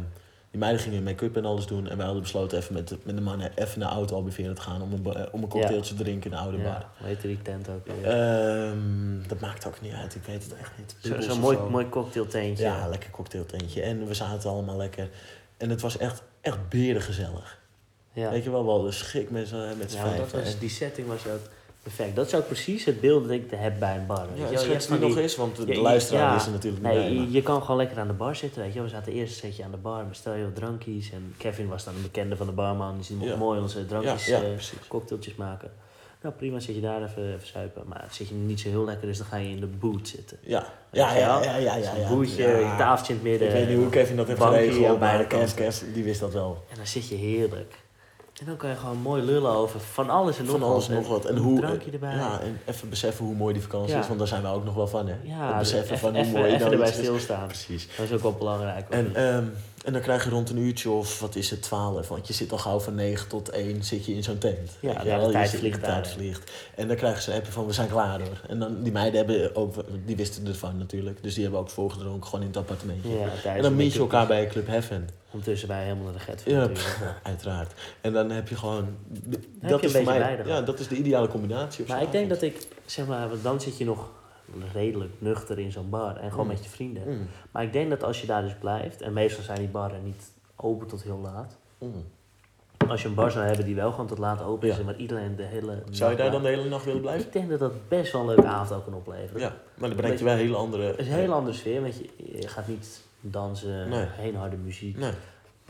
die meiden gingen make-up en alles doen. En wij hadden besloten even met de, met de mannen even naar Oud Albeveren te gaan... om een, ba- eh, om een cocktailtje te drinken in de oude Ja, bar. Eh, hoe heette die tent ook weer? Ehm, dat maakt ook niet uit. Ik weet het echt niet. Zo- Bubbles Zo'n of mooi, zo. mooi cocktailteentje. Ja, lekker cocktailtentje. En we zaten allemaal lekker. En het was echt, echt berengezellig. Ja. Weet je wel, wel de schik met z'n met z'n Ja, want Nou, dat vijven. was, En- die setting was ook perfect. Dat is ook precies het beeld dat ik heb bij een bar. weet je Ja, wel. het Je schrik hebt van die nog die- is, want de Ja, je- luisteraar ja. is er natuurlijk niet Nee, bij. je, je kan gewoon lekker aan de bar zitten, weet je wel. We zaten eerst een setje aan de bar, bestel je wat drankjes. En Kevin was dan een bekende van de barman, dus die mocht Ja. mooi onze maar- Ja, drankjes, ja, eh, precies. cocktailtjes maken. Nou prima, zit je daar even, even zuipen. Maar zit je niet zo heel lekker, dus dan ga je in de boot zitten. Ja, ja, ja, ja, ja, ja. Zo'n ja. bootje, Ja. een tafeltje in het midden. Ik weet niet hoe Kevin dat heeft eh, bankje geregeld, aan maar beide Kev, kanten. Kev, die wist dat wel. En dan zit je heerlijk. En dan kan je gewoon mooi lullen over van alles en nog Van alles en nog wat. En hoe, eh, Een drankje erbij. Ja, en even beseffen hoe mooi die vakantie Ja. is, want daar zijn we ook nog wel van, hè. Ja, Het beseffen even- van hoe even- mooi even nou erbij iets is. stilstaan. Precies. Dat is ook wel belangrijk. hoor. En, ehm, en dan krijg je rond een uurtje of wat is het, 12. Want je zit al gauw van 9 tot 1 zit je in zo'n tent. Ja, Weet je ja, de wel, je tijd zit- vliegt de tijd daar. vliegt. En dan krijgen ze een appje van we zijn klaar hoor. En dan, die meiden hebben ook, die wisten ervan natuurlijk. Dus die hebben ook voorgedronken gewoon in het appartementje. ja, tijdens en dan een meet je beetje- elkaar bij Club Heaven. Ondertussen wij helemaal naar de get van Ja, natuurlijk. Uiteraard. En dan heb je gewoon... je een dat is voor beetje mij... beide Ja, gehad. dat is de ideale combinatie. op Maar zo'n ik denk avond. dat ik, zeg maar, want dan zit je nog redelijk nuchter in zo'n bar en gewoon Mm. met je vrienden. Mm, Maar ik denk dat als je daar dus blijft, en meestal zijn die barren niet open tot heel laat. mm. Als je een bar zou hebben die wel gewoon tot laat open is, Ja. en maar iedereen de hele. Zou je daar nacht dan de hele nacht willen blijft, blijven? Ik denk dat dat best wel een leuke avond ook kan opleveren. Ja, maar dan brengt je wel een hele andere... Het is een hele andere sfeer, want je, je gaat niet dansen, Nee. geen harde muziek. Nee.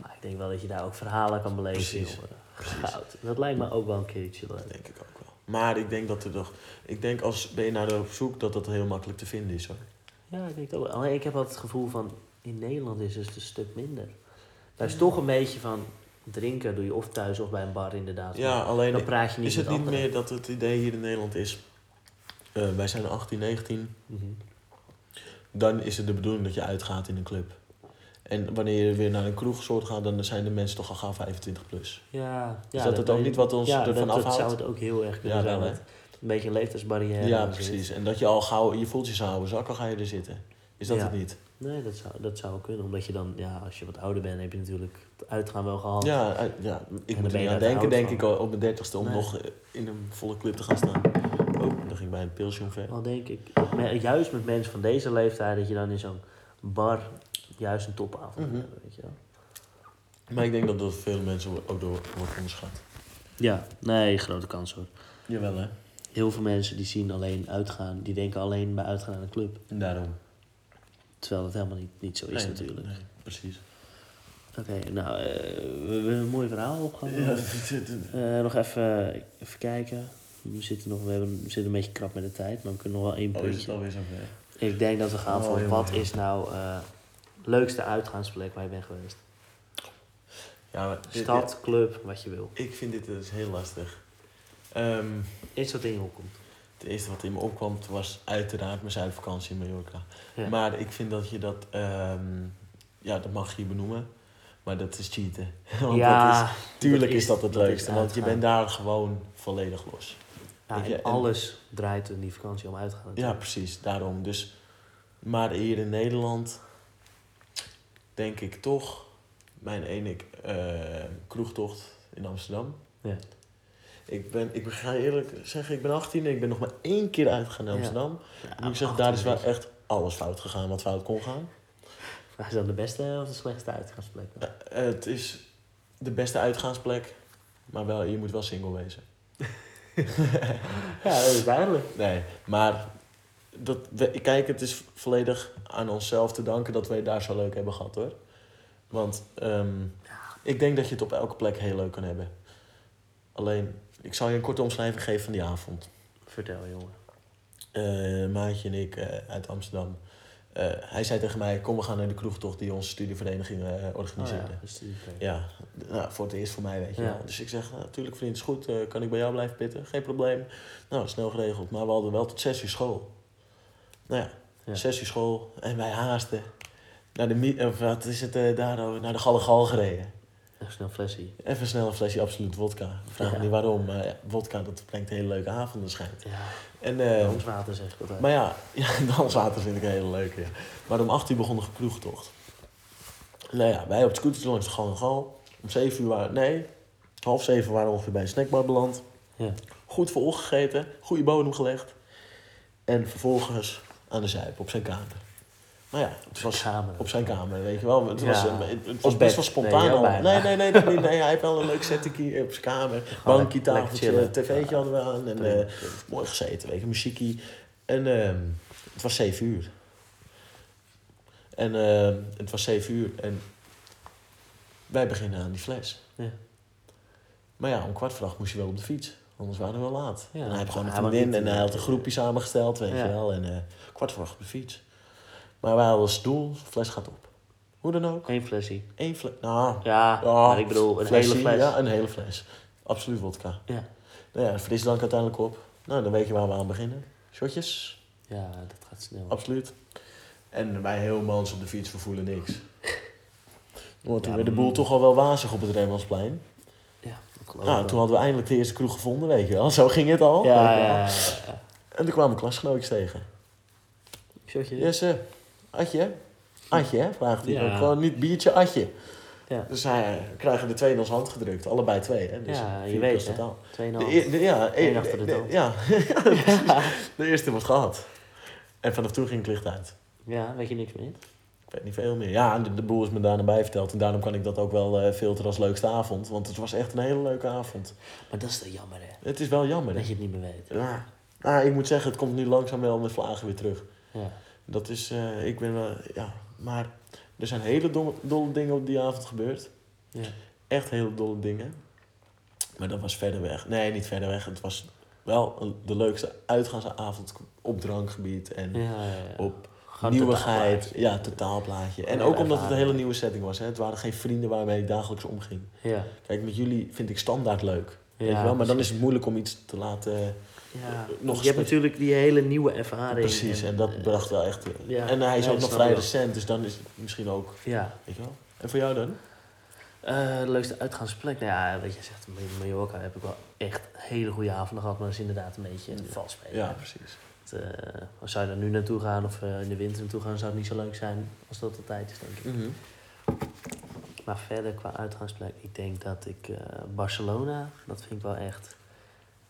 Maar ik denk wel dat je daar ook verhalen kan beleven. Precies. jongen. Goud. Dat lijkt me ook wel een keertje leuk. Dat denk ik ook wel. Maar ik denk dat er nog... Ik denk als ben je naar op zoek dat dat heel makkelijk te vinden is hoor. Ja, ik denk het ook. wel. Alleen ik heb wel het gevoel van in Nederland is het een stuk minder. Daar is toch een beetje van drinken doe je of thuis of bij een bar inderdaad. Ja, Maar alleen dan praat je niet is het met niet anderen. meer dat het idee hier in Nederland is... eh, wij zijn 18, 19. Mhm. dan is het de bedoeling dat je uitgaat in een club. En wanneer je weer naar een kroegsoort gaat, dan zijn de mensen toch al gauw 25 plus. Ja, ja, dat het ook weet- niet wat ons ja, ervan dat, dat afhoudt? zou het ook heel erg kunnen Ja, zijn. wel, met een beetje een leeftijdsbarrière. Ja, en zoiets. precies. En dat je al gauw, je voelt je zo'n oude zak, al ga je er zitten. Is dat Ja. het niet? Nee, dat zou, dat zou kunnen. Omdat je dan, ja, als je wat ouder bent, heb je natuurlijk het uitgaan wel gehad. Ja, eh, ja, ik dan moet er ben je niet aan daar denken, oud denk van. ik, al op mijn dertigste om Nee. nog eh, in een volle club te gaan staan. Oh, dan ging bij een pilsje omver. Al denk ik, me- juist met mensen van deze leeftijd, dat je dan in zo'n bar juist een topavond Mhm. hebt, weet je wel. Maar ik denk dat dat veel mensen ook door wordt onderschat. Ja, nee, grote kans hoor. Jawel, hè? Heel veel mensen die zien alleen uitgaan, die denken alleen bij uitgaan aan een club. En daarom. Terwijl dat helemaal niet, niet zo is Nee, natuurlijk. nee, precies. Oké, nou, eh, we we hebben een mooi verhaal opgehangen. Oh, Eh, nog even, even kijken. We zitten, nog, we, hebben, we zitten een beetje krap met de tijd, maar we kunnen nog wel één Oh, is het puntje. alweer zover? Ik denk dat we gaan Oh, voor jongen, wat jongen. is nou eh leukste uitgaansplek waar je bent geweest. Ja, maar dit- Stad, club, wat je wil. Ik vind dit dus heel lastig. Ehm, Iets wat in je opkomt. het eerste wat in me opkwam was uiteraard mijn zuidvakantie in Mallorca. Ja. Maar ik vind dat je dat... ehm, ja, dat mag je benoemen. Maar dat is cheaten. Want dat is, tuurlijk dat is dat het dat is leukste. Want je uitgaan. bent daar gewoon volledig los. Ja, Weet je, en en- alles draait in die vakantie om uitgaan. Ja, precies. Daarom. Dus, maar hier in Nederland denk ik toch mijn ene eh, kroegtocht in Amsterdam. Ja. Ik, ben, ik ga eerlijk zeggen, ik ben 18 en ik ben nog maar één keer uitgegaan naar Ja. Amsterdam. Ja, Moet ik zeggen, daar is wel echt alles fout gegaan wat fout kon gaan. Maar is dat de beste of de slechtste uitgaansplek? dan? Eh, het is de beste uitgaansplek, maar wel, je moet wel single wezen. Ja, dat is duidelijk. Nee, maar dat, we, kijk, het is volledig aan onszelf te danken dat wij het daar zo leuk hebben gehad hoor. Want ehm, ik denk dat je het op elke plek heel leuk kan hebben. Alleen, ik zal je een korte omschrijving geven van die avond. Vertel, jongen. Eh, Maatje en ik eh, uit Amsterdam. Eh, hij zei tegen mij, kom we gaan naar de kroegtocht die onze studievereniging eh, Oh, ja, organiseerde. dat is die plek. Ja, nou, voor het eerst voor mij, weet je Ja. wel. Dus ik zeg, nou, natuurlijk vriend, is goed. eh, kan ik bij jou blijven pitten? Geen probleem. Nou, snel geregeld. Maar we hadden wel tot zes uur school. Nou ja, Ja. zes uur school. En wij haasten naar de, mi- of wat is het eh, daarover, naar de Gallegal gereden. Even snel flesje. Even snel een flesje absoluut wodka. Vraag me Ja. niet waarom, maar ja, wodka, dat brengt hele leuke avonden schijnt. Ja, En, eh, ons water zeg ik altijd. maar ja, ja danswater vind ik een hele leuke. Ja. Maar om 8 uur begon de kroegtocht. Nou ja, wij op de scooters langs de gang gal. Om 7 uur waren, nee, half 7 waren we ongeveer bij een snackbar beland. Ja. Goed voor gegeten, goede bodem gelegd. En vervolgens aan de zuip op zijn kamer. Maar ja, het was Samen. op zijn kamer, weet je wel. Het Ja. was, een- het, het was Op best bed. wel Nee, spontaan heel al. Nee, bijna. nee, nee, nee, nee, nee, Hij heeft wel een leuk settingje op zijn kamer. Bankje, lekker tafeltje, chillen. tv'tje hadden we aan. En, Prima. eh, mooi gezeten, weet je, muziekie. En ehm, het was zeven uur. En ehm, het was zeven uur en wij beginnen aan die fles. Ja. Maar ja, om kwart voor acht moest je wel op de fiets. Anders waren we wel laat. Ja, en hij had gewoon een hij wou vriendin niet- eh, en hij had een groepje samengesteld, weet Ja. je wel. En eh, kwart voor acht op de fiets. Maar wij hadden als doel, fles gaat op. Hoe dan ook, Eén flesje. één fles. Nou, Ja, ja, maar ik bedoel, een flesje, hele fles. Ja, een hele fles. Absoluut wodka. Ja. Nou ja, frisdrank uiteindelijk op. Nou, dan weet je waar we aan beginnen. Shotjes, Ja, dat gaat snel. absoluut. En wij helemaal op de fiets, we voelen niks. Want toen Ja, werd de boel mm. toch al wel wazig op het Rembrandtsplein. Oh, Ja, dat geloof ik Nou, wel. toen hadden we eindelijk de eerste kroeg gevonden, weet je wel. Zo ging het al. Oh, Ja, weet je wel. ja, ja, ja. En toen kwamen klasgenootjes tegen. Shotje? Jesse, Atje? Atje, hè? vraagt hij. Ja. Gewoon niet biertje, Atje. Ja. Dus hij krijgen de twee in ons hand gedrukt. Allebei twee, hè? Dus Ja, je vier weet, plus hè. totaal. De, 2,5. eer- de- ja, Eén e- achter de de- dood. Ja, de eerste wordt gehad. En vanaf toen ging het licht uit. Ja, weet je niks meer? Ik weet niet veel meer. Ja, en de, de boel is me daarna bij verteld. En daarom kan ik dat ook wel eh, filteren als leukste avond. Want het was echt een hele leuke avond. Maar dat is toch jammer, hè? Het is wel jammer. Dat hè? je het niet meer weet. Ja. Nou, ik moet zeggen, het komt nu langzaam wel met vlagen weer terug. Ja. Dat is, eh, ik ben wel, ja. Maar er zijn hele domme, dolle dingen op die avond gebeurd. Ja. Echt hele dolle dingen. Maar dat was verder weg. Nee, niet verder weg. Het was wel een- de leukste uitgaansavond op drankgebied. En Ja, ja, ja. op Gewoon nieuwigheid. totaalplaatje. Ja, totaalplaatje. En Hele ook omdat het een ervaring. hele nieuwe setting was. Hè? Het waren geen vrienden waarmee ik dagelijks omging. Ja, Kijk, met jullie vind ik standaard leuk. weet je wel? Maar dan is precies. het moeilijk om iets te laten... Ja. nog Nog je gesprek- hebt natuurlijk die hele nieuwe ervaring. eh, Precies, en dat bracht wel echt... ja, en hij is ja, ook ik nog snap vrij wel. recent, dus dan is het misschien ook... Ja. Weet je wel? En voor jou dan? Eh, de leukste uitgaansplek? Nou ja, weet je, zegt Mallorca heb ik wel echt hele goede avonden gehad. Maar dat is inderdaad een beetje een Ja. vals spelen. Ja, precies. Het, eh, als zou je daar nu naartoe gaan of eh, in de winter naartoe gaan, zou het niet zo leuk zijn als dat de tijd is, denk ik. Mhm. Maar verder qua uitgangsplek, ik denk dat ik eh, Barcelona, dat vind ik wel echt.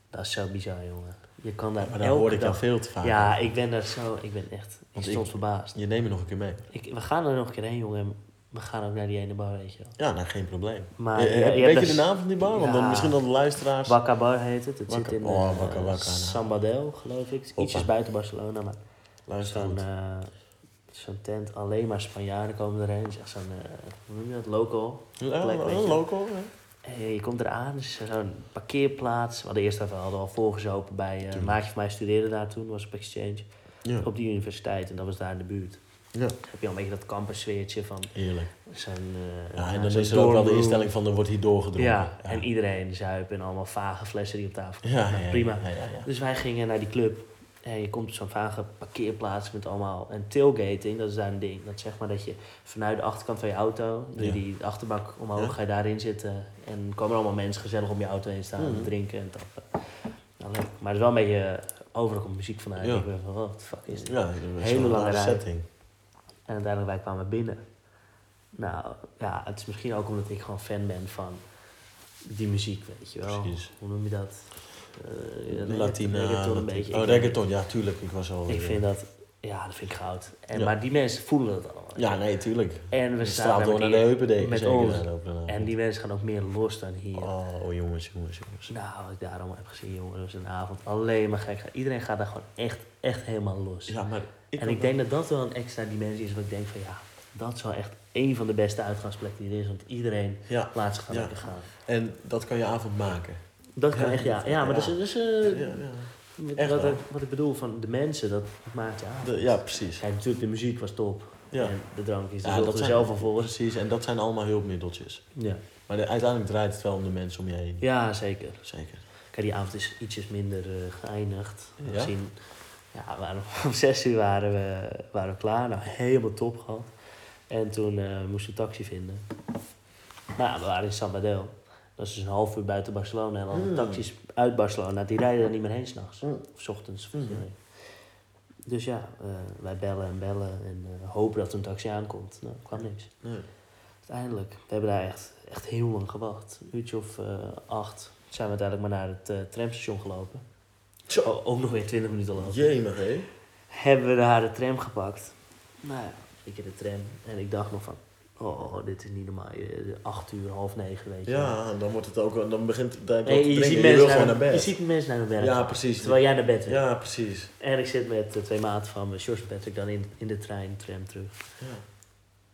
Dat is zo bizar, jongen. Je kan daar. Maar daar elke hoor ik jou dag... veel te vaak. Ja, ik ben daar zo. Ik ben echt. Ik Want stond ik- verbaasd. Je neemt me nog een keer mee. Ik, we gaan er nog een keer heen, jongen. en We gaan ook naar die ene bar, weet je wel. Ja, nou geen probleem. Maar Eh, eh, je- je hebt weet je dus- de naam van die bar? Want dan Ja. misschien dan de luisteraars... Wakka Bar heet het. Het Wakka- zit in oh, eh, Wakka Wakka, nou. Sambadel, geloof ik. Hoppa. Ietsjes buiten Barcelona, maar Luister zo'n goed. eh, zo'n tent. Alleen maar Spanjaarden komen erheen. Het is echt zo'n, eh, hoe noem je dat, local. Ja, eh, plek, weet een je. local. ja. Eh, je komt eraan, het is zo'n parkeerplaats. We hadden eerst even hadden we al volgezopen bij... eh, een Tuurlijk. maatje van mij studeerde daar toen, was op exchange. Ja. Op die universiteit, en dat was daar in de buurt. ja, Dan heb je al een beetje dat campersfeertje van eerlijk. zo'n... Ja, en eh, nou, dan zo'n is er ook wel de dormroom. instelling van, er wordt hier doorgedronken. Ja, en iedereen zuipen en allemaal vage flessen die op tafel Ja, Nou, ja, prima. Ja, ja, ja. Dus wij gingen naar die club. En je komt op zo'n vage parkeerplaats met allemaal... En tailgating, dat is daar een ding. Dat zeg maar dat je vanuit de achterkant van je auto... Doe je Ja. die achterbank omhoog, Ja. ga je daarin zitten. En komen allemaal mensen gezellig om je auto heen staan. Mhm. Drinken en tappen. Nou, leuk. Maar het is wel een beetje... eh, Overal komt muziek vanuit. Ja. Ik ben van, oh, what the fuck is dit? Ja, dat is wel Hele een lange rare rij. setting. En uiteindelijk, wij kwamen binnen. Nou, ja, het is misschien ook omdat ik gewoon fan ben van die muziek, weet je wel. Precies. Hoe noem je dat? Eh, regga- Latina. Reggaeton een Latin- beetje. Oh, Ik- reggaeton. Ja, tuurlijk. Ik was al... eh, Ik vind dat, ja, dat vind ik goud. En, Ja. Maar die mensen voelen dat allemaal. Ja, nee, tuurlijk. En we Het straalt staan door daar naar de heupen, denk ik. met zeker ons. daar ook daarna. En die mensen gaan ook meer los dan hier. Oh, jongens, jongens, jongens. Nou, wat ik daar allemaal heb gezien, jongen, dat is een avond alleen maar gek. Iedereen gaat daar gewoon echt, echt helemaal los. Ja, maar... en ik denk dat dat wel een extra dimensie is, wat ik denk van ja, dat is wel echt één van de beste uitgangsplekken die er is, want iedereen Ja, laat zich gewoon Ja. lekker gaan. en dat kan je avond maken. Dat kan Ja. echt, ja. Ja, maar dat is, dat is, eh, Ja, ja. met- Echt wat, wel. ik, wat ik bedoel van de mensen, dat maakt je avond. De- ja, precies. Kijk, natuurlijk, de muziek was top. Ja. En de drank is dus Ja, er dat zijn- zelf al voor. Precies, en dat zijn allemaal hulpmiddeltjes. Ja. Maar de- uiteindelijk draait het wel om de mensen om je heen. ja, zeker. Zeker. Kijk, die avond is ietsjes minder eh, geëindigd. Ja? Gezien, ja, we waren, om zes uur waren we, waren we klaar. Nou, helemaal top gehad. En toen eh, moesten we een taxi vinden. Nou, we waren in Sabadell. Dat is dus een half uur buiten Barcelona. En dan Hmm. taxis uit Barcelona, die rijden er niet meer heen s'nachts. Hmm. Of 's ochtends. of Mhm. zo. Dus ja, eh, wij bellen en bellen en eh, hopen dat er een taxi aankomt. Nou, er kwam niks. Nee. Uiteindelijk, we hebben daar echt, echt heel lang gewacht. Een uurtje of eh, acht zijn we uiteindelijk maar naar het eh, tramstation gelopen. Zo. O- ook nog weer twintig minuten lopen. Jemig, hé. Hebben we daar de tram gepakt. Nou ja, ik in de tram. En ik dacht nog van, oh, dit is niet normaal. Eh, Acht uur, half negen, weet je. wel. Ja, en dan wordt het ook... Dan begint het eigenlijk Hey, wel te je, dringen. ziet Je wil mensen gewoon naar, naar je bed. ziet mensen naar hun werk Ja, gaan, precies. Terwijl jij naar bed wil. Ja, precies. En ik zit met eh, twee maten van me, George en Patrick, dan in, in de trein, tram terug. Ja.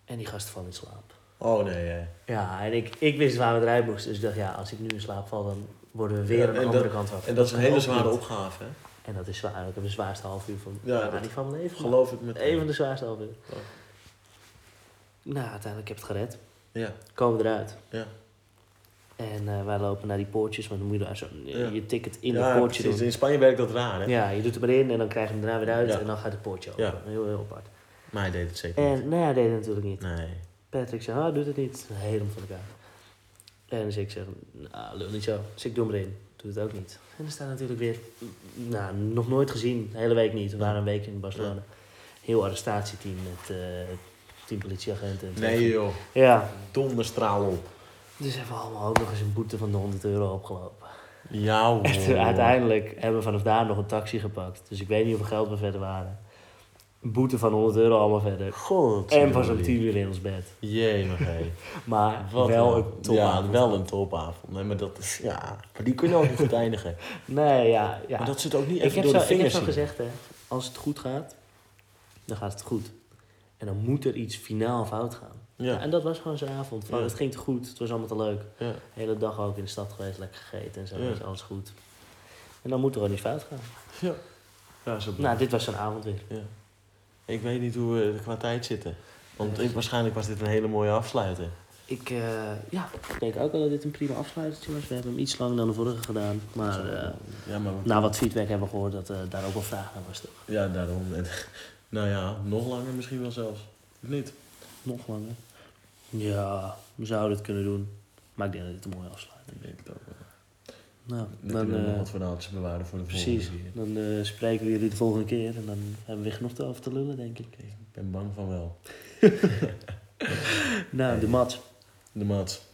En die gasten vallen in slaap. Oh, nee, ja. Ja, en ik, ik wist waar we eruit moesten. Dus ik dacht, ja, als ik nu in slaap val, dan worden we weer Ja, aan de en andere dat- kant af. En dat is een hele kan zware ook niet. opgave, hè? En dat is zwaar. Ik heb de zwaarste half uur van, Ja, ja, dat- niet van mijn leven. Geloof ik met... Een van de zwaarste half uur. Ja. Nou, uiteindelijk heb ik het gered. Ja, Komen we eruit. ja. En eh, wij lopen naar die poortjes, want dan moet je daar zo, Ja. je ticket in ja, dat poortje precies. doen. In Spanje werkt dat raar, hè? Ja, je doet hem erin en dan krijg je hem daarna weer uit Ja. en dan gaat het poortje open. Ja. Heel, heel apart. Maar hij deed het zeker niet. En nou ja, deed het natuurlijk niet. Nee. Patrick zei, ah, doet het niet. Helemaal van elkaar. En dus ik zeg, nou, lul niet zo. Dus ik doe hem erin. Doet het ook niet. En er staat natuurlijk weer, mm, nou, nog nooit gezien. De hele week niet. We waren een week in Barcelona. Heel arrestatieteam met eh tien politieagenten. en Nee, joh. Ja. Donderstraal op. Dus hebben we allemaal ook nog eens een boete van de 100 euro opgelopen. Ja, hoor. En toen uiteindelijk hebben we vanaf daar nog een taxi gepakt. Dus ik weet niet hoeveel geld we verder waren. Een boete van 100 euro allemaal verder. God. En pas om tien uur in ons bed. Jemig, hé. Maar Wat wel een- een topavond. Ja, wel een topavond. Nee, maar dat is... Ja, maar die kunnen ook niet goed eindigen. Nee, ja. ja. Maar dat zit ook niet ik, even heb door zo, de ik heb vingers zo heen. gezegd, hè. Als het goed gaat, dan gaat het goed. En dan moet er iets finaal fout gaan. Ja, Ja, en dat was gewoon zo'n avond. Van, Ja. Het ging te goed, het was allemaal te leuk. ja. De hele dag ook in de stad geweest, lekker gegeten en zo. Ja. is alles goed. En dan moet er ook iets fout gaan. Ja, ja zo Nou, dit was zo'n avond weer. Ja. Ik weet niet hoe we er qua tijd zitten. Want ik, waarschijnlijk was dit een hele mooie afsluiter. Ik, eh, ja, ik denk ook wel dat dit een prima afsluitertje was. We hebben hem iets langer dan de vorige gedaan. Maar eh, ja, maar na wat feedback hebben we gehoord dat eh, daar ook wel vragen naar was. Toch? ja, daarom. En, nou ja, nog langer misschien wel zelfs. Of niet? Nog langer. Ja, we zouden het kunnen doen. Maar ik denk dat dit een mooie afsluiting Ik is. denk het ook wel. Nou, Dan dan, kunnen we nog eh, wat verhaaltjes bewaren voor de precies. volgende keer. Dan eh, spreken we jullie de volgende keer. En dan hebben we weer genoeg te over te lullen, denk ik. Ik ben bang van wel. Nou, de mat. De maat.